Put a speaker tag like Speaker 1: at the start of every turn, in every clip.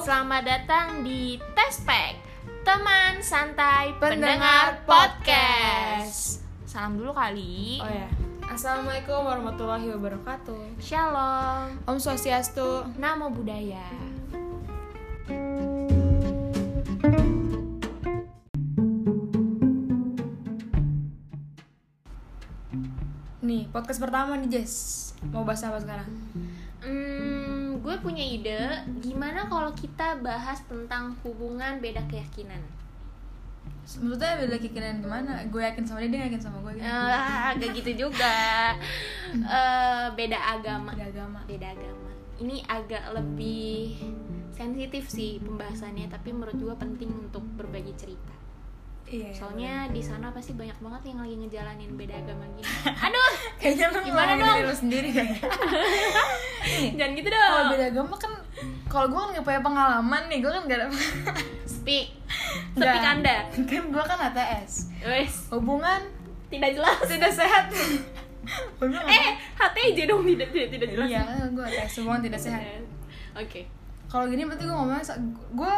Speaker 1: Selamat datang di Tespek Teman santai pendengar podcast iya. Salam dulu kali
Speaker 2: Oh ya. Assalamualaikum warahmatullahi wabarakatuh.
Speaker 1: Shalom
Speaker 2: Om Swastiastu.
Speaker 1: Namo Buddhaya
Speaker 2: Nih, podcast pertama nih, Jess. Mau bahas apa sekarang?
Speaker 1: hmm, Gue punya ide Gimana kalau kita bahas tentang hubungan beda keyakinan
Speaker 2: Sebetulnya beda keyakinan gimana? Gue yakin sama dia, dia yakin sama gue. Gitu.
Speaker 1: Eh, Agak gitu juga Eh, Beda agama
Speaker 2: Beda agama.
Speaker 1: beda agama ini agak lebih sensitif sih pembahasannya tapi menurut gue penting untuk berbagi cerita
Speaker 2: Iya.
Speaker 1: soalnya di sana pasti banyak banget yang lagi ngejalanin beda agama gini
Speaker 2: kayaknya lu
Speaker 1: Gimana
Speaker 2: ngomongin
Speaker 1: dong?
Speaker 2: diri lu sendiri. Eh,
Speaker 1: jangan gitu
Speaker 2: Kalau
Speaker 1: dong
Speaker 2: beda agama kan kalau gue kan gak punya pengalaman nih, gue kan gak ada
Speaker 1: speak speak
Speaker 2: Nggak.
Speaker 1: anda
Speaker 2: kan gue kan ATS.
Speaker 1: wes
Speaker 2: Hubungan
Speaker 1: tidak jelas
Speaker 2: tidak sehat. Hubungan
Speaker 1: eh HTJ dong tidak tidak tidak jelas
Speaker 2: Iya, kan gue ATS, hubungan tidak sehat.
Speaker 1: oke
Speaker 2: kalau gini berarti gue ngomongnya gue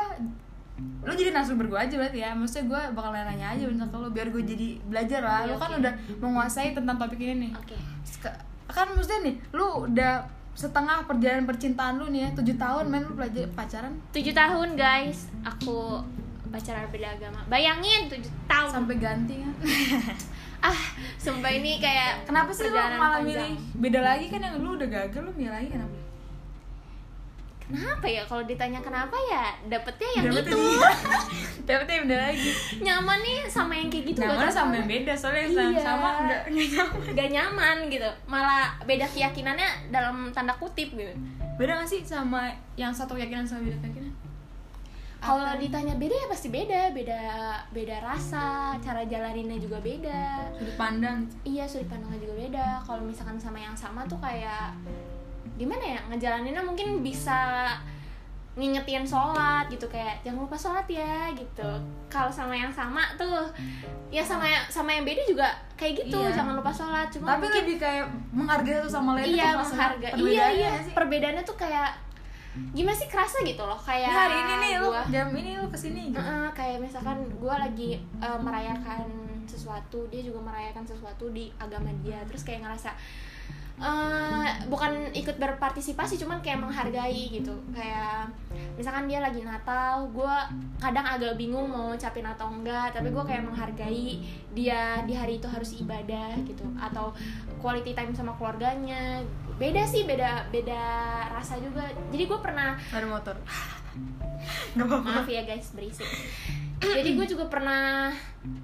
Speaker 2: lu jadi narasumber gue aja berarti ya maksudnya gue bakal nanya aja bentar ke lu biar gue jadi belajar lah
Speaker 1: Iya,
Speaker 2: lu kan
Speaker 1: oke.
Speaker 2: udah menguasai tentang topik ini nih
Speaker 1: oke
Speaker 2: Sek- kan maksudnya nih lu udah setengah perjalanan percintaan lu nih ya tujuh tahun main lu belajar pacaran
Speaker 1: tujuh tahun guys aku pacaran beda agama bayangin tujuh tahun
Speaker 2: sampai ganti kan
Speaker 1: ah sumpah ini kayak
Speaker 2: kenapa sih lu
Speaker 1: perjalanan
Speaker 2: malah
Speaker 1: panjang.
Speaker 2: milih beda lagi kan yang lu udah gagal lu milih lagi kenapa
Speaker 1: Kenapa ya kalau ditanya kenapa ya dapetnya yang
Speaker 2: Dapetnya
Speaker 1: itu
Speaker 2: dia. Iya, gitu. dapetnya yang beda lagi
Speaker 1: nyaman nih sama yang kayak gitu
Speaker 2: nah
Speaker 1: gak
Speaker 2: mana
Speaker 1: tau
Speaker 2: sama yang
Speaker 1: kenapa.
Speaker 2: beda soalnya yang sama-
Speaker 1: Iya.
Speaker 2: sama enggak
Speaker 1: gak nyaman gitu malah beda keyakinannya dalam tanda kutip gitu
Speaker 2: beda gak sih sama yang satu keyakinan sama beda keyakinan
Speaker 1: kalau ditanya beda ya pasti beda beda beda rasa cara jalaninnya juga beda
Speaker 2: sudut pandang
Speaker 1: iya sudut pandangnya juga beda kalau misalkan sama yang sama tuh kayak gimana ya ngejalaninnya mungkin bisa ngingetin sholat gitu kayak jangan lupa sholat ya gitu kalau sama yang sama tuh ya sama yang sama yang beda juga kayak gitu
Speaker 2: Iya.
Speaker 1: jangan lupa sholat cuma
Speaker 2: tapi
Speaker 1: mungkin
Speaker 2: lebih kayak menghargai satu sama lain
Speaker 1: iya
Speaker 2: itu
Speaker 1: menghargai iya
Speaker 2: perbedaannya
Speaker 1: iya
Speaker 2: nggak sih?
Speaker 1: perbedaannya tuh kayak gimana sih kerasa gitu loh
Speaker 2: Ini
Speaker 1: kayak
Speaker 2: hari ini nih lu
Speaker 1: gua-
Speaker 2: jam ini lu kesini gitu.
Speaker 1: Heeh, kayak misalkan gue lagi eh, merayakan sesuatu dia juga merayakan sesuatu di agama dia terus kayak ngerasa eh bukan ikut berpartisipasi cuman kayak menghargai gitu kayak misalkan dia lagi Natal gue kadang agak bingung mau ucapin atau enggak tapi gue kayak menghargai dia di hari itu harus ibadah gitu atau quality time sama keluarganya beda sih beda beda rasa juga jadi gue pernah
Speaker 2: ada motor nggak apa-apa
Speaker 1: maaf ya guys berisik jadi gue juga pernah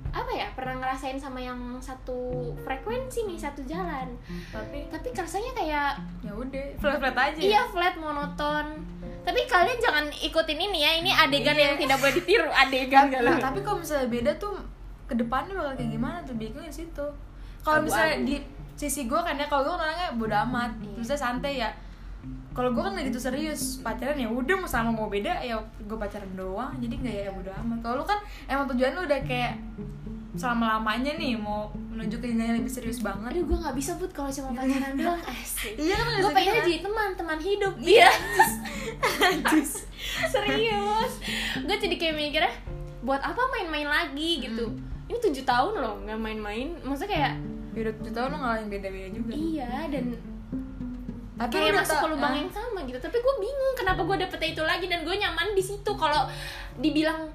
Speaker 1: apa ya pernah ngerasain sama yang satu frekuensi nih satu jalan
Speaker 2: tapi
Speaker 1: tapi rasanya kayak
Speaker 2: ya udah flat flat aja
Speaker 1: iya flat monoton tapi kalian jangan ikutin ini ya ini adegan yang tidak boleh ditiru adegan
Speaker 2: Nah, tapi kalau misalnya beda tuh kedepannya bakal kayak gimana tuh bingungnya di situ kalau misalnya
Speaker 1: Abu-abu.
Speaker 2: di sisi gue kan ya kalau gue orangnya bodo amat
Speaker 1: Iya.
Speaker 2: misalnya santai ya kalau gue kan gak gitu serius pacaran ya udah mau sama mau beda ya gue pacaran doang jadi nggak ya bodo amat kalau lu kan emang tujuan lu udah kayak selama lamanya nih mau menuju ke jenjang yang lebih serius banget
Speaker 1: aduh gue nggak bisa put kalau cuma pacaran doang asik
Speaker 2: iya kan
Speaker 1: gue pengennya jadi teman teman hidup dia serius gue jadi kayak mikirnya buat apa main-main lagi gitu ini tujuh tahun loh nggak main-main maksudnya kayak
Speaker 2: Ya udah tujuh tahun lu ngalamin beda beda juga
Speaker 1: iya dan
Speaker 2: tapi lu
Speaker 1: kayak
Speaker 2: udah
Speaker 1: masuk
Speaker 2: tau-
Speaker 1: ke lubang
Speaker 2: Hah?
Speaker 1: yang sama gitu tapi gue bingung kenapa gue dapetnya itu lagi dan gue nyaman di situ kalau dibilang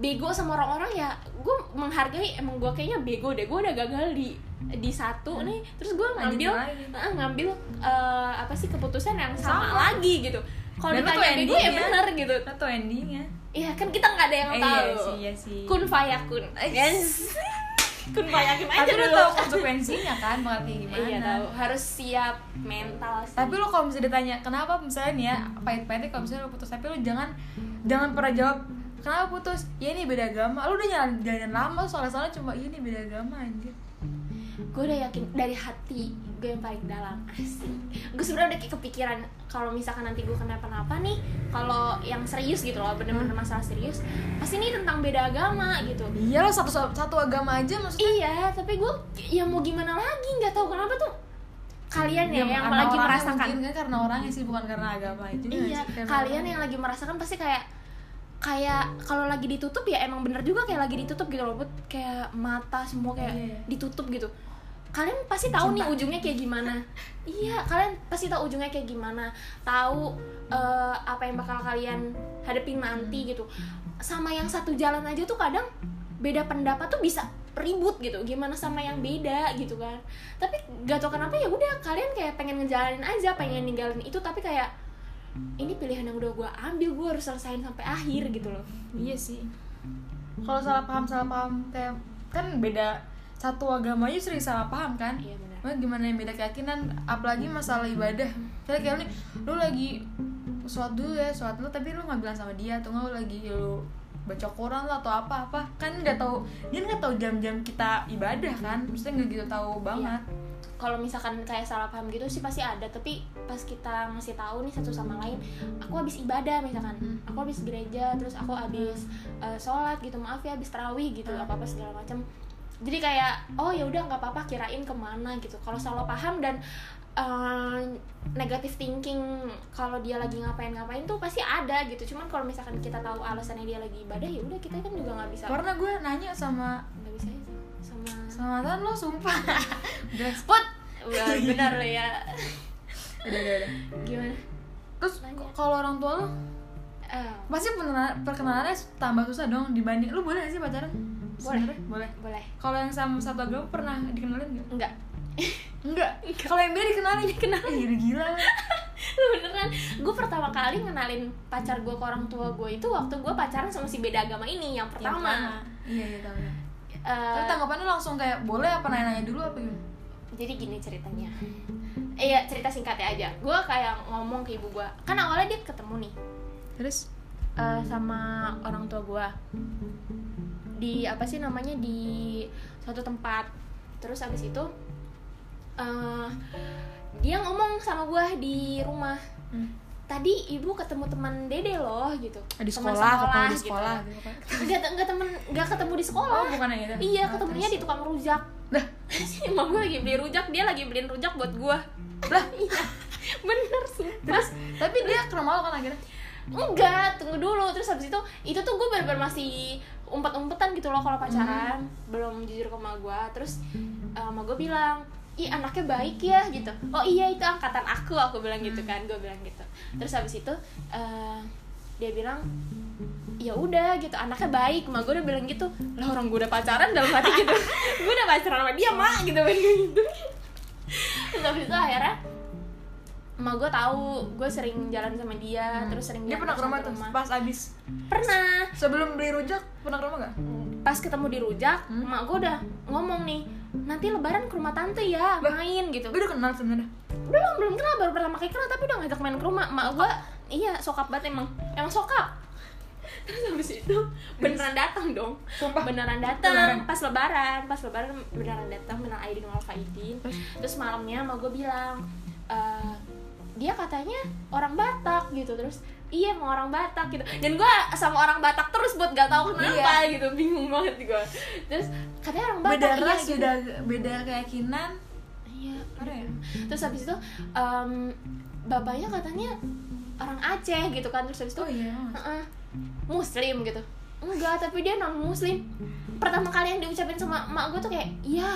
Speaker 1: bego sama orang-orang ya gue menghargai emang gue kayaknya bego deh gue udah gagal di di satu nih terus gue
Speaker 2: Lanjutin
Speaker 1: ngambil
Speaker 2: Hmm. lagi.
Speaker 1: eh, ngambil eh, apa sih keputusan yang sama,
Speaker 2: Sama.
Speaker 1: lagi gitu kalau
Speaker 2: Dan lu tuh
Speaker 1: ditanya bego ya
Speaker 2: endingnya.
Speaker 1: bener gitu
Speaker 2: Lu tau endingnya
Speaker 1: ya kan kita nggak ada yang
Speaker 2: Eh,
Speaker 1: tahu
Speaker 2: iya sih iya sih
Speaker 1: kun fayakun yes kun fayakun aja
Speaker 2: tapi lu
Speaker 1: dulu
Speaker 2: tau konsekuensinya kan bakal kayak gimana
Speaker 1: iya tahu harus siap mental sih.
Speaker 2: tapi lu kalau misalnya ditanya kenapa misalnya nih ya pahit-pahitnya kalau misalnya lu putus tapi lu jangan jangan pernah jawab kenapa putus ya ini beda agama lu udah jalan jalan lama soalnya soalnya cuma "Iya, ini beda agama anjir
Speaker 1: gue udah yakin dari hati gue yang paling dalam asik gue sebenarnya udah kayak kepikiran kalau misalkan nanti gue kenapa-napa nih kalau yang serius gitu loh bener-bener masalah serius pasti ini tentang beda agama gitu
Speaker 2: iya lo satu satu agama aja maksudnya
Speaker 1: iya tapi gue ya mau gimana lagi nggak tahu kenapa tuh kalian
Speaker 2: Iya,
Speaker 1: ya, yang
Speaker 2: karena
Speaker 1: lagi
Speaker 2: orangnya
Speaker 1: merasakan
Speaker 2: mungkin kan karena orangnya sih bukan karena agama juga
Speaker 1: iya
Speaker 2: sih, karena
Speaker 1: kalian
Speaker 2: orangnya.
Speaker 1: yang lagi merasakan pasti kayak kayak kalau lagi ditutup ya emang bener juga kayak lagi ditutup gitu loh Put. kayak mata semua kayak
Speaker 2: Iya, iya.
Speaker 1: ditutup gitu kalian pasti tahu
Speaker 2: Cinta.
Speaker 1: nih ujungnya kayak gimana iya kalian pasti tahu ujungnya kayak gimana tahu eh, apa yang bakal kalian hadepin nanti gitu sama yang satu jalan aja tuh kadang beda pendapat tuh bisa ribut gitu gimana sama yang beda gitu kan tapi gak tau kenapa ya udah kalian kayak pengen ngejalanin aja pengen ninggalin itu tapi kayak ini pilihan yang udah gue ambil gue harus selesain sampai akhir gitu loh
Speaker 2: iya sih kalau salah paham salah paham kayak kan beda satu agama aja sering salah paham kan
Speaker 1: iya benar
Speaker 2: Maksudnya gimana yang beda keyakinan apalagi masalah ibadah kayak kayak lu nih lu lagi sholat dulu ya sholat dulu tapi lu nggak bilang sama dia atau nggak lu lagi lu baca koran lah atau apa apa kan nggak tahu dia nggak tahu jam-jam kita ibadah kan maksudnya nggak gitu tahu banget
Speaker 1: kalau misalkan kayak salah paham gitu sih pasti ada tapi pas kita ngasih tahu nih satu sama lain aku habis ibadah misalkan
Speaker 2: Hmm.
Speaker 1: aku habis gereja terus aku habis eh, sholat gitu maaf ya habis terawih gitu
Speaker 2: Hmm.
Speaker 1: apa apa segala macam jadi kayak oh ya udah nggak apa-apa kirain kemana gitu kalau salah paham dan eh, negative thinking kalau dia lagi ngapain-ngapain tuh pasti ada gitu cuman kalau misalkan kita tahu alasannya dia lagi ibadah ya udah kita kan juga nggak bisa
Speaker 2: karena gue nanya sama
Speaker 1: nggak bisa ya sama
Speaker 2: sama mantan lo sumpah udah
Speaker 1: spot benar lo ya
Speaker 2: udah udah, udah.
Speaker 1: gimana
Speaker 2: terus
Speaker 1: Nanya.
Speaker 2: k- kalau orang tua lo
Speaker 1: Eh,
Speaker 2: pasti penena- perkenalannya tambah susah dong dibanding lu boleh gak sih pacaran Sebenarnya? boleh
Speaker 1: boleh
Speaker 2: kalau yang sama satu agama pernah dikenalin nggak
Speaker 1: enggak
Speaker 2: Enggak. Kalau yang beda dikenalin dikenalin. Iya gila.
Speaker 1: beneran gue pertama kali ngenalin pacar gue ke orang tua gue itu waktu gue pacaran sama si beda agama ini yang pertama
Speaker 2: Iya iya tahu. ya.
Speaker 1: Eh,
Speaker 2: Tapi tanggapannya langsung kayak boleh apa nanya-nanya dulu apa gimana?
Speaker 1: jadi gini ceritanya iya cerita singkatnya aja gue kayak ngomong ke ibu gue kan awalnya dia ketemu nih
Speaker 2: Terus
Speaker 1: eh, sama orang tua gue di apa sih namanya di suatu tempat terus abis itu eh, dia ngomong sama gue di rumah tadi ibu ketemu teman dede loh gitu
Speaker 2: Ah, di
Speaker 1: Teman
Speaker 2: sekolah, ketemu di
Speaker 1: gitu.
Speaker 2: sekolah.
Speaker 1: nggak nggak temen nggak ketemu di sekolah
Speaker 2: Oh, bukan yang itu.
Speaker 1: iya
Speaker 2: Oh,
Speaker 1: ketemunya di
Speaker 2: terus.
Speaker 1: tukang rujak
Speaker 2: Lah.
Speaker 1: emang gue lagi beli rujak dia lagi beliin rujak buat gue lah iya bener sih terus
Speaker 2: Tapi dia ke rumah lo kan akhirnya.
Speaker 1: Iya, enggak tunggu dulu terus habis itu itu tuh gue bener-bener masih umpet-umpetan gitu loh kalau pacaran belum jujur ke mama gue terus eh, mama gue bilang ih anaknya baik ya gitu oh iya itu angkatan aku aku bilang gitu
Speaker 2: Hmm.
Speaker 1: kan gue bilang gitu terus habis itu eh, dia bilang ya udah gitu anaknya baik mak gue udah bilang gitu lah orang gue udah pacaran dalam hati gitu gue udah pacaran sama dia mak gitu kan gitu terus habis itu akhirnya emak gue tahu gue sering jalan sama dia terus sering jalan
Speaker 2: dia pernah ke rumah
Speaker 1: satu
Speaker 2: tuh pas abis
Speaker 1: pernah
Speaker 2: sebelum beli rujak pernah ke rumah gak?
Speaker 1: pas ketemu di rujak
Speaker 2: Hmm.
Speaker 1: emak gue udah ngomong nih nanti lebaran ke rumah tante ya
Speaker 2: Lah.
Speaker 1: main gitu
Speaker 2: Gue udah kenal sebenarnya.
Speaker 1: belum belum kenal baru pertama kali kenal tapi udah ngajak main ke rumah emak gue iya sokap banget emang emang sokap terus habis itu beneran datang dong
Speaker 2: Sumpah.
Speaker 1: beneran
Speaker 2: Lebaran.
Speaker 1: datang pas lebaran pas lebaran beneran datang beneran Aidin wal Faidin
Speaker 2: Terus?
Speaker 1: terus malamnya mau gue bilang "Eh, dia katanya orang Batak gitu terus iya emang orang Batak gitu dan gue sama orang Batak terus buat gak tahu kenapa gitu bingung banget gue terus katanya orang Batak
Speaker 2: Beda
Speaker 1: iya,
Speaker 2: ras,
Speaker 1: gitu.
Speaker 2: beda beda keyakinan.
Speaker 1: iya
Speaker 2: Ada ya?
Speaker 1: terus habis itu em, bapaknya katanya orang Aceh gitu kan terus habis itu
Speaker 2: Oh iya.
Speaker 1: "Heeh, muslim gitu enggak tapi dia non muslim pertama kali yang diucapin sama emak gue tuh kayak iya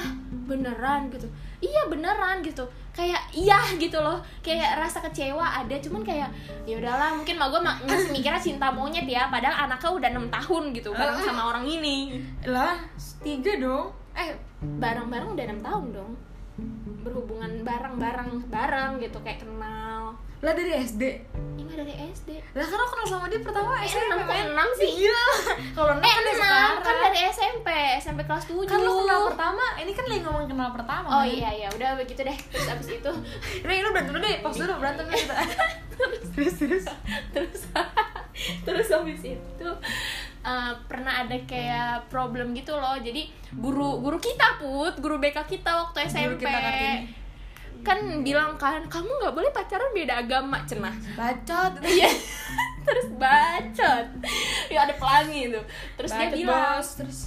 Speaker 1: beneran gitu iya beneran gitu kayak iya gitu loh kayak rasa kecewa ada cuman kayak ya udahlah mungkin emak gue ma- masih mikirnya cinta monyet ya padahal anaknya udah enam tahun gitu bareng sama orang ini
Speaker 2: Lah, tiga dong. Eh,
Speaker 1: bareng-bareng udah enam tahun dong berhubungan bareng-bareng bareng gitu kayak kenal
Speaker 2: lah dari SD.
Speaker 1: ini mah dari SD
Speaker 2: Lah karena aku kenal sama dia pertama
Speaker 1: Eh,
Speaker 2: SMP
Speaker 1: enam kok
Speaker 2: men.
Speaker 1: enam sih?
Speaker 2: Ih, Gila Iya. Kalau enam
Speaker 1: eh
Speaker 2: kan dari
Speaker 1: enam kan
Speaker 2: sekarang.
Speaker 1: dari SMP SMP kelas 7
Speaker 2: Kan lu kenal pertama, ini kan lagi ngomong kenal pertama
Speaker 1: Oh
Speaker 2: men.
Speaker 1: iya iya udah begitu deh terus abis itu
Speaker 2: Nih lu berantem dulu deh, pause dulu berantem dulu kita Terus terus
Speaker 1: terus terus abis itu eh, pernah ada kayak problem gitu loh jadi guru guru kita put guru BK kita waktu SMP
Speaker 2: kita Kartini.
Speaker 1: kan bilang kan kamu nggak boleh pacaran beda agama cenah
Speaker 2: Bacot
Speaker 1: iya terus bacot ya ada pelangi itu terus dia
Speaker 2: Bacot,
Speaker 1: bilang
Speaker 2: bos. Terus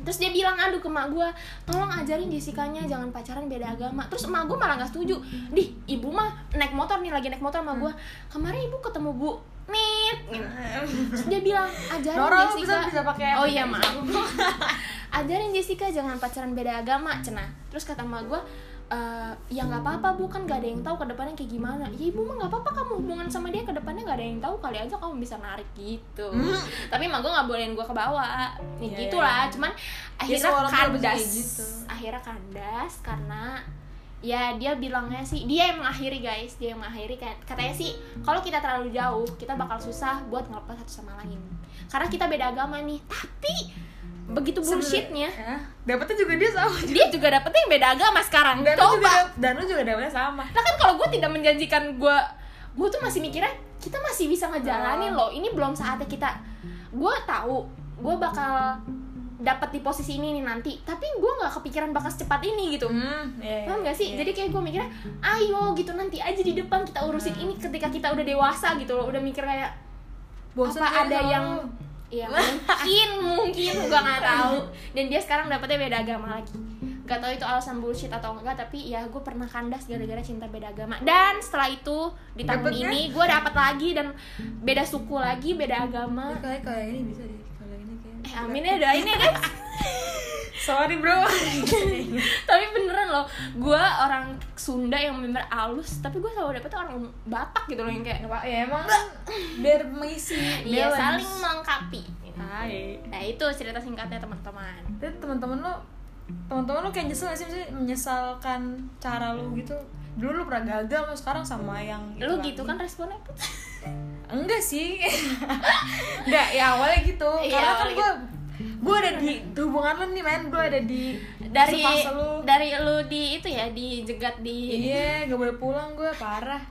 Speaker 1: terus dia bilang aduh ke mak gue tolong ajarin Jessica-nya jangan pacaran beda agama terus emak gue malah nggak
Speaker 2: Hmm.
Speaker 1: setuju dih ibu mah naik motor nih lagi naik motor sama gue kemarin ibu ketemu bu nih menit gitu. Terus dia bilang ajarin
Speaker 2: Nora lu
Speaker 1: Jessica
Speaker 2: bisa bisa pakai
Speaker 1: oh iya maaf ajarin Jessica jangan pacaran beda agama cenah terus kata emak gue "Eh, ya nggak apa-apa bu kan gak ada yang tahu kedepannya kayak gimana ya ibu mah nggak apa-apa kamu hubungan sama dia kedepannya nggak ada yang tahu kali aja kamu bisa narik gitu
Speaker 2: Hmm.
Speaker 1: tapi emak gue nggak bolehin gue ke bawah ya,
Speaker 2: Iya,
Speaker 1: gitulah
Speaker 2: iya.
Speaker 1: cuman akhirnya
Speaker 2: semua orang tuh lebih
Speaker 1: kandas
Speaker 2: kayak gitu.
Speaker 1: akhirnya kandas karena ya dia bilangnya sih dia yang mengakhiri guys dia yang mengakhiri kan katanya sih kalau kita terlalu jauh kita bakal susah buat ngelepas satu sama lain karena kita beda agama nih tapi begitu bullshitnya
Speaker 2: Sebenernya- Hah? dapetnya juga dia sama
Speaker 1: dia juga dapetnya yang beda agama sekarang
Speaker 2: dan lu juga
Speaker 1: coba
Speaker 2: dap- dan lu juga dapetnya sama
Speaker 1: nah kan kalau gue tidak menjanjikan gue gue tuh masih mikirnya kita masih bisa ngejalanin loh ini belum saatnya kita gue tahu gue bakal dapat di posisi ini nih nanti tapi gue nggak kepikiran bakal secepat ini gitu
Speaker 2: hmm, iya, iya,
Speaker 1: paham gak sih?
Speaker 2: iya.
Speaker 1: Jadi kayak gue mikirnya, ayo gitu nanti aja di depan kita urusin ini ketika kita udah dewasa gitu loh, udah mikir kayak
Speaker 2: Bosen
Speaker 1: apa
Speaker 2: kali
Speaker 1: ada
Speaker 2: sama
Speaker 1: yang
Speaker 2: lu.
Speaker 1: ya mungkin mungkin gue
Speaker 2: Iya.
Speaker 1: nggak tahu dan dia sekarang dapetnya beda agama lagi gak tahu itu alasan bullshit atau enggak tapi ya gue pernah kandas gara-gara cinta beda agama dan setelah itu di tahun
Speaker 2: Dapetnya?
Speaker 1: ini gue dapat lagi dan beda suku lagi beda agama
Speaker 2: Ini kayak kayak ini bisa deh kalau ini kayak
Speaker 1: eh, amin ya doain ya guys
Speaker 2: sorry bro
Speaker 1: tapi beneran loh gue orang Sunda yang member alus tapi gue selalu dapetnya orang Batak gitu loh yang kayak
Speaker 2: Wah, ya emang kan biar mengisi
Speaker 1: Iya
Speaker 2: balance.
Speaker 1: saling melengkapi.
Speaker 2: Hai.
Speaker 1: Nah itu cerita singkatnya teman-teman.
Speaker 2: Tapi teman-teman lo teman-teman lo kayak nyesel gak sih Maksudnya menyesalkan cara lo gitu dulu lo pernah gagal lo sekarang sama yang
Speaker 1: Lu
Speaker 2: lagi.
Speaker 1: gitu kan responnya Put?
Speaker 2: enggak sih enggak ya awalnya gitu
Speaker 1: Iya,
Speaker 2: karena kan
Speaker 1: awalnya
Speaker 2: gue gue ada di hubungan lo nih men gue ada di
Speaker 1: dari
Speaker 2: fase lo
Speaker 1: dari lu di itu ya dijegat di
Speaker 2: iya gak boleh pulang gue parah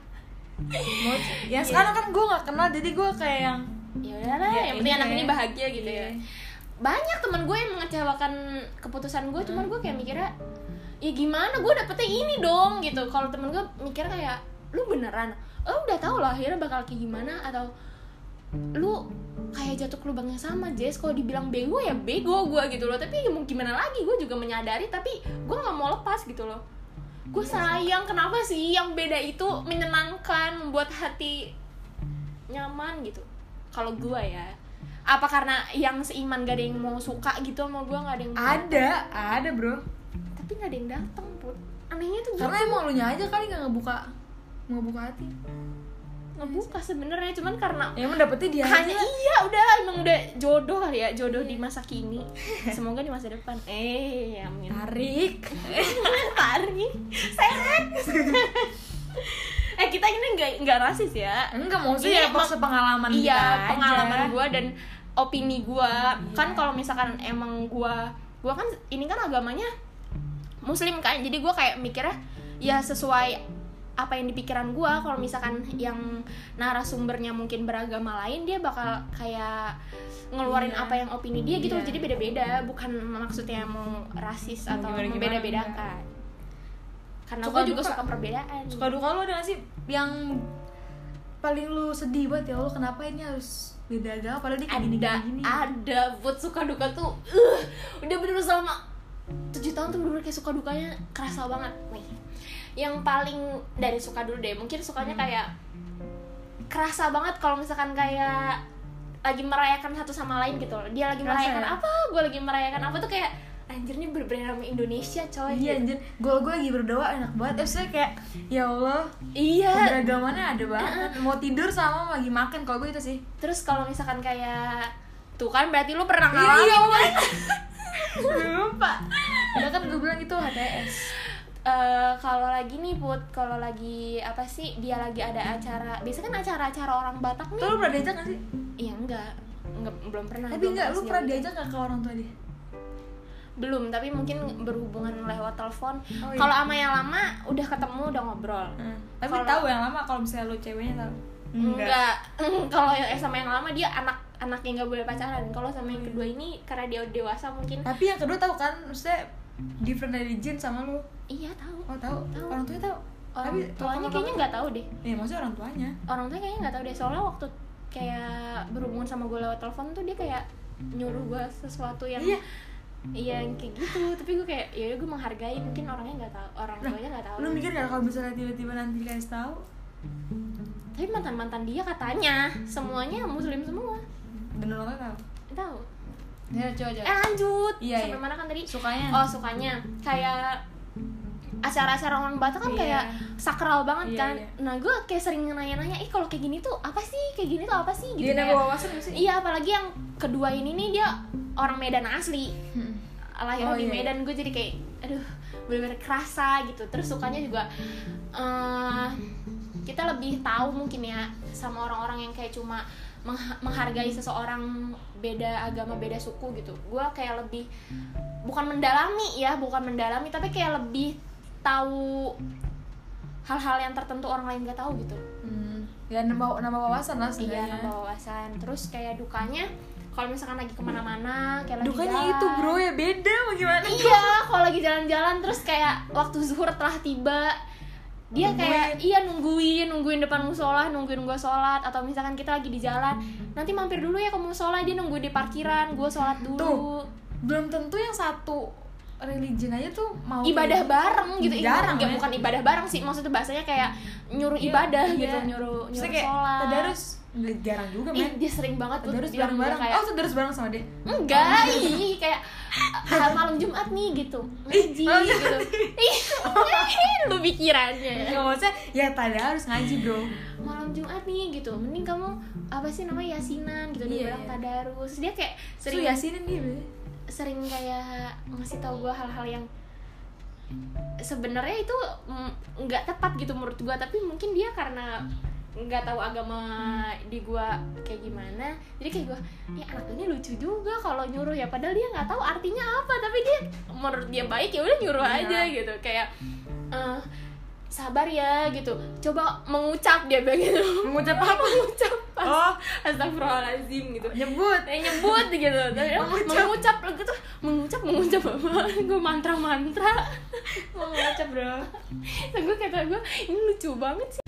Speaker 2: Mau, ya sekarang kan gue gak kenal jadi gue kayak yang
Speaker 1: ya udahlah
Speaker 2: Ya,
Speaker 1: yang penting
Speaker 2: iya.
Speaker 1: anak ini bahagia gitu
Speaker 2: Iya.
Speaker 1: ya. Banyak teman gue yang mengecewakan keputusan gue, cuman gue kayak mikirnya ya gimana gue dapetnya ini dong gitu. Kalau temen gue mikir kayak lu beneran, Oh, lu udah tau lah akhirnya bakal kayak gimana atau lu kayak jatuh ke lubang yang sama Jess kalau dibilang bego ya bego gue gitu loh tapi ya mau gimana lagi gue juga menyadari tapi gue nggak mau lepas gitu loh gue sayang kenapa sih yang beda itu menyenangkan membuat hati nyaman gitu kalau gue ya apa karena yang seiman gak ada yang mau suka gitu sama gue gak ada yang mau
Speaker 2: ada ada bro
Speaker 1: tapi gak ada yang dateng pun anehnya tuh
Speaker 2: karena
Speaker 1: gitu
Speaker 2: emang lu aja kali gak ngebuka ngebuka hati
Speaker 1: ngebuka sebenarnya cuman karena
Speaker 2: ya emang dapetnya dia
Speaker 1: hanya
Speaker 2: aja.
Speaker 1: iya udah emang udah jodoh kali ya jodoh di masa kini semoga di masa depan eh amin
Speaker 2: tarik
Speaker 1: Tari seret eh kita ini nggak nggak rasis ya
Speaker 2: enggak
Speaker 1: Iya,
Speaker 2: maksudnya ya
Speaker 1: emang-
Speaker 2: pas pengalaman kita aja. Iya.
Speaker 1: iya pengalaman gue dan opini gue kan kalau misalkan emang gue gue kan ini kan agamanya muslim kan jadi gue kayak mikirnya ya sesuai apa yang di pikiran gue kalau misalkan yang narasumbernya mungkin beragama lain dia bakal kayak ngeluarin
Speaker 2: Iya.
Speaker 1: apa yang opini dia gitu
Speaker 2: Iya.
Speaker 1: jadi beda-beda bukan maksudnya mau rasis
Speaker 2: Mau
Speaker 1: atau
Speaker 2: gimana-gimana,
Speaker 1: beda-bedakan karena
Speaker 2: Suka
Speaker 1: gue juga
Speaker 2: duka.
Speaker 1: suka perbedaan
Speaker 2: suka duka lu ada gak sih yang paling lu sedih banget ya Allah kenapa ini harus beda agama padahal dia kayak gini
Speaker 1: ada
Speaker 2: gini
Speaker 1: ada buat suka duka tuh uh, udah bener selama tujuh tahun tuh bener kayak suka dukanya kerasa banget nih yang paling dari suka dulu deh mungkin sukanya
Speaker 2: Hmm.
Speaker 1: kayak kerasa banget kalau misalkan kayak lagi merayakan satu sama lain gitu loh dia lagi
Speaker 2: Kerasa
Speaker 1: merayakan
Speaker 2: ya?
Speaker 1: apa gue lagi merayakan apa tuh kayak anjirnya berbeda sama Indonesia coy
Speaker 2: iya anjir gue gue lagi berdoa enak banget eh maksudnya kayak ya Allah
Speaker 1: iya
Speaker 2: beragamannya ada banget mau tidur sama lagi makan kalau gue itu sih
Speaker 1: terus kalau misalkan kayak tuh kan berarti lu pernah
Speaker 2: Iya,
Speaker 1: ngalamin
Speaker 2: iya,
Speaker 1: kan?
Speaker 2: lupa ya kan gue bilang itu HTS
Speaker 1: eh kalau lagi nih put kalau lagi apa sih dia lagi ada acara biasanya kan acara-acara orang Batak
Speaker 2: tuh
Speaker 1: nih
Speaker 2: lu pernah diajak gak sih
Speaker 1: iya enggak, Enggak, belum pernah
Speaker 2: tapi
Speaker 1: belum
Speaker 2: enggak lu
Speaker 1: sejauh
Speaker 2: pernah
Speaker 1: itu.
Speaker 2: diajak gak ke orang tua dia
Speaker 1: belum tapi mungkin berhubungan lewat telepon
Speaker 2: Oh, iya.
Speaker 1: kalau sama yang lama udah ketemu udah ngobrol
Speaker 2: tapi
Speaker 1: Hmm. Kalau- Hmm.
Speaker 2: tahu yang lama kalau misalnya lu ceweknya tahu
Speaker 1: enggak kalau yang sama yang lama dia anak anak yang nggak boleh pacaran kalau sama yang kedua ini karena dia udah dewasa mungkin
Speaker 2: tapi yang kedua tahu kan maksudnya different religion sama lu
Speaker 1: iya tahu
Speaker 2: oh tahu
Speaker 1: Tahu.
Speaker 2: orang tuanya tahu
Speaker 1: orang
Speaker 2: tapi
Speaker 1: tuanya kayaknya nggak tahu deh
Speaker 2: ya maksudnya orang tuanya
Speaker 1: orang tuanya kayaknya nggak tahu deh soalnya waktu kayak berhubungan sama gue lewat telepon tuh dia kayak nyuruh gue sesuatu yang
Speaker 2: Iya.
Speaker 1: iya yang kayak gitu tapi gue kayak ya gue menghargai mungkin orangnya nggak tahu orang
Speaker 2: Nah,
Speaker 1: tuanya nggak tahu
Speaker 2: lu mikir gak kalau misalnya tiba-tiba nanti dikasih tahu
Speaker 1: tapi mantan mantan dia katanya semuanya muslim semua
Speaker 2: bener lo tau
Speaker 1: tahu
Speaker 2: ya coba
Speaker 1: eh
Speaker 2: coba
Speaker 1: lanjut
Speaker 2: Iya,
Speaker 1: sampai
Speaker 2: iya.
Speaker 1: mana kan tadi
Speaker 2: sukanya
Speaker 1: oh sukanya kayak acara-acara orang Batak kan
Speaker 2: Iya.
Speaker 1: kayak sakral banget
Speaker 2: Iya,
Speaker 1: kan
Speaker 2: iya.
Speaker 1: nah gue kayak sering nanya-nanya ih kalau kayak gini tuh apa sih kayak gini tuh apa sih gitu
Speaker 2: dia nambah
Speaker 1: kayak-
Speaker 2: wawasan gak sih
Speaker 1: iya apalagi yang kedua ini nih dia orang Medan asli
Speaker 2: Hmm.
Speaker 1: lahir
Speaker 2: Oh,
Speaker 1: di
Speaker 2: iya, iya.
Speaker 1: Medan gue jadi kayak aduh bener-bener kerasa gitu terus sukanya juga eh, kita lebih tahu mungkin ya sama orang-orang yang kayak cuma mengha- menghargai seseorang beda agama beda suku gitu gue kayak lebih bukan mendalami ya bukan mendalami tapi kayak lebih tahu hal-hal yang tertentu orang lain gak tahu gitu
Speaker 2: Hmm. ya nambah nambah wawasan lah
Speaker 1: iya
Speaker 2: sebenarnya
Speaker 1: nambah wawasan terus kayak dukanya kalau misalkan lagi kemana-mana kayak lagi
Speaker 2: dukanya
Speaker 1: jalan.
Speaker 2: itu bro ya beda mau gimana
Speaker 1: iya kalau lagi jalan-jalan terus kayak waktu zuhur telah tiba dia kayak
Speaker 2: Nungguin.
Speaker 1: iya nungguin nungguin depan musola nungguin gua sholat atau misalkan kita lagi di jalan nanti mampir dulu ya ke musola dia nungguin di parkiran gua sholat dulu
Speaker 2: Tuh. belum tentu yang satu religion aja tuh mau
Speaker 1: ibadah bareng gitu
Speaker 2: Jarang,
Speaker 1: Nggak,
Speaker 2: ya.
Speaker 1: bukan ibadah bareng sih maksudnya bahasanya kayak nyuruh
Speaker 2: Iya,
Speaker 1: ibadah
Speaker 2: iya.
Speaker 1: gitu nyuruh
Speaker 2: Maksudnya
Speaker 1: nyuruh
Speaker 2: kayak
Speaker 1: sholat
Speaker 2: tadarus nggak jarang juga
Speaker 1: Ih,
Speaker 2: men
Speaker 1: dia sering banget tuh
Speaker 2: tadarus
Speaker 1: bilang
Speaker 2: bareng
Speaker 1: dia
Speaker 2: bareng
Speaker 1: kayak,
Speaker 2: oh tadarus bareng sama dia
Speaker 1: enggak
Speaker 2: Oh, iya.
Speaker 1: ih kayak "Ah, malam Jumat nih gitu ngaji
Speaker 2: malam
Speaker 1: gitu ih lu pikirannya ya.
Speaker 2: nggak maksudnya ya tadarus ngaji bro
Speaker 1: malam Jumat nih gitu mending kamu apa sih namanya yasinan gitu
Speaker 2: Iya,
Speaker 1: dia bilang
Speaker 2: iya.
Speaker 1: tadarus dia kayak
Speaker 2: sering
Speaker 1: sering
Speaker 2: yasinin dia bro
Speaker 1: sering kayak ngasih tahu gue hal-hal yang sebenarnya itu mm, nggak tepat gitu menurut gue tapi mungkin dia karena nggak tahu agama di gua kayak gimana jadi kayak gue ya anak ini lucu juga kalau nyuruh ya padahal dia nggak tahu artinya apa tapi dia menurut dia baik ya udah nyuruh
Speaker 2: Iya.
Speaker 1: aja gitu kayak eh, sabar ya gitu coba mengucap dia bilang gitu
Speaker 2: mengucap apa
Speaker 1: mengucap
Speaker 2: oh
Speaker 1: astagfirullahaladzim gitu
Speaker 2: nyebut
Speaker 1: Eh, nyebut gitu tapi oh, mengucap gitu mengucap mengucap apa gue mantra mantra
Speaker 2: mengucap bro
Speaker 1: dan gue kata gue ini lucu banget sih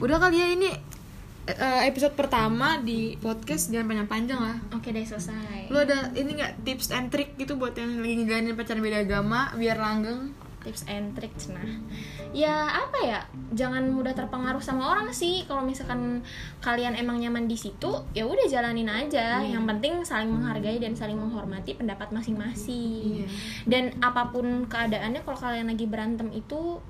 Speaker 2: udah kali ya ini eh, episode pertama di podcast jangan panjang-panjang lah
Speaker 1: oke deh selesai
Speaker 2: Lu ada ini nggak tips and trick gitu buat yang lagi ngejalanin pacaran beda agama biar langgeng?
Speaker 1: tips and trick nah ya apa ya jangan mudah terpengaruh sama orang sih kalau misalkan kalian emang nyaman di situ ya udah jalanin aja
Speaker 2: Iya.
Speaker 1: yang penting saling menghargai dan saling menghormati pendapat masing-masing
Speaker 2: Iya.
Speaker 1: dan apapun keadaannya kalau kalian lagi berantem itu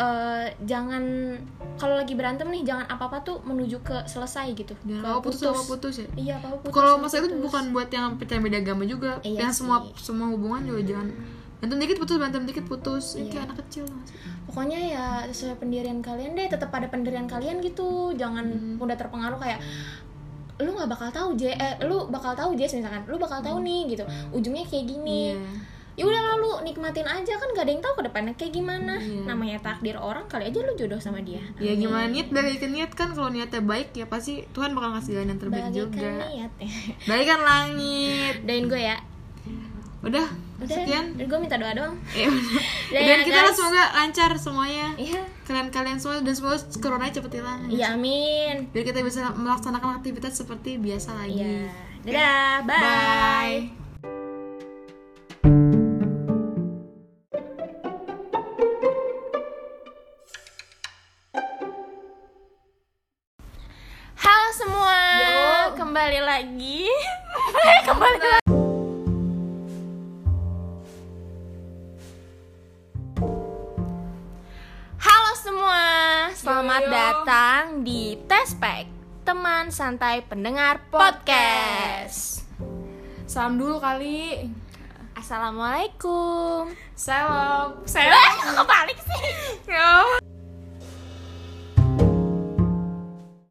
Speaker 1: eh, jangan kalau lagi berantem nih jangan apa-apa tuh menuju ke selesai gitu
Speaker 2: Jangan
Speaker 1: Ke
Speaker 2: mau putus sama putus ya.
Speaker 1: iya apa putus
Speaker 2: Kalau
Speaker 1: sama
Speaker 2: masa itu
Speaker 1: putus.
Speaker 2: bukan buat yang pacaran beda agama juga,
Speaker 1: Iya
Speaker 2: yang semua
Speaker 1: sih.
Speaker 2: semua hubungan juga jangan berantem dikit putus berantem dikit putus
Speaker 1: Iya.
Speaker 2: ini kayak anak kecil nggak sih?
Speaker 1: pokoknya ya sesuai pendirian kalian deh tetap pada pendirian kalian gitu jangan
Speaker 2: Hmm.
Speaker 1: mudah terpengaruh kayak lu nggak bakal tahu J eh, lu bakal tahu Jess misalkan lu bakal tahu nih gitu ujungnya kayak gini
Speaker 2: Hmm. Iya.
Speaker 1: ya udah lalu nikmatin aja kan gak ada yang tahu ke depannya kayak gimana
Speaker 2: Iya.
Speaker 1: namanya takdir orang kali aja lu jodoh sama dia
Speaker 2: Ya gimana niat dari ke niat kan kalau niatnya baik ya pasti Tuhan bakal ngasih jalan yang terbaik juga.
Speaker 1: Bagikan niatnya
Speaker 2: Baikkan langit.
Speaker 1: kan doain gue ya
Speaker 2: Udah,
Speaker 1: udah
Speaker 2: sekian.
Speaker 1: gue minta doa doang
Speaker 2: Ya udah.
Speaker 1: Udah ya,
Speaker 2: Dan kita
Speaker 1: guys.
Speaker 2: semoga lancar semuanya.
Speaker 1: iya
Speaker 2: Kalian-kalian semua dan semoga corona cepet hilang. ya
Speaker 1: iya amin
Speaker 2: biar kita bisa melaksanakan aktivitas seperti biasa lagi.
Speaker 1: iya dadah bye.
Speaker 2: Bye.
Speaker 1: Halo semua,
Speaker 2: Yo.
Speaker 1: kembali lagi. Halo semua, selamat
Speaker 2: Yo, yo.
Speaker 1: datang di Tespek teman santai pendengar podcast.
Speaker 2: Salam dulu kali.
Speaker 1: Assalamualaikum.
Speaker 2: Salam.
Speaker 1: Saya kebalik sih.
Speaker 2: Salam.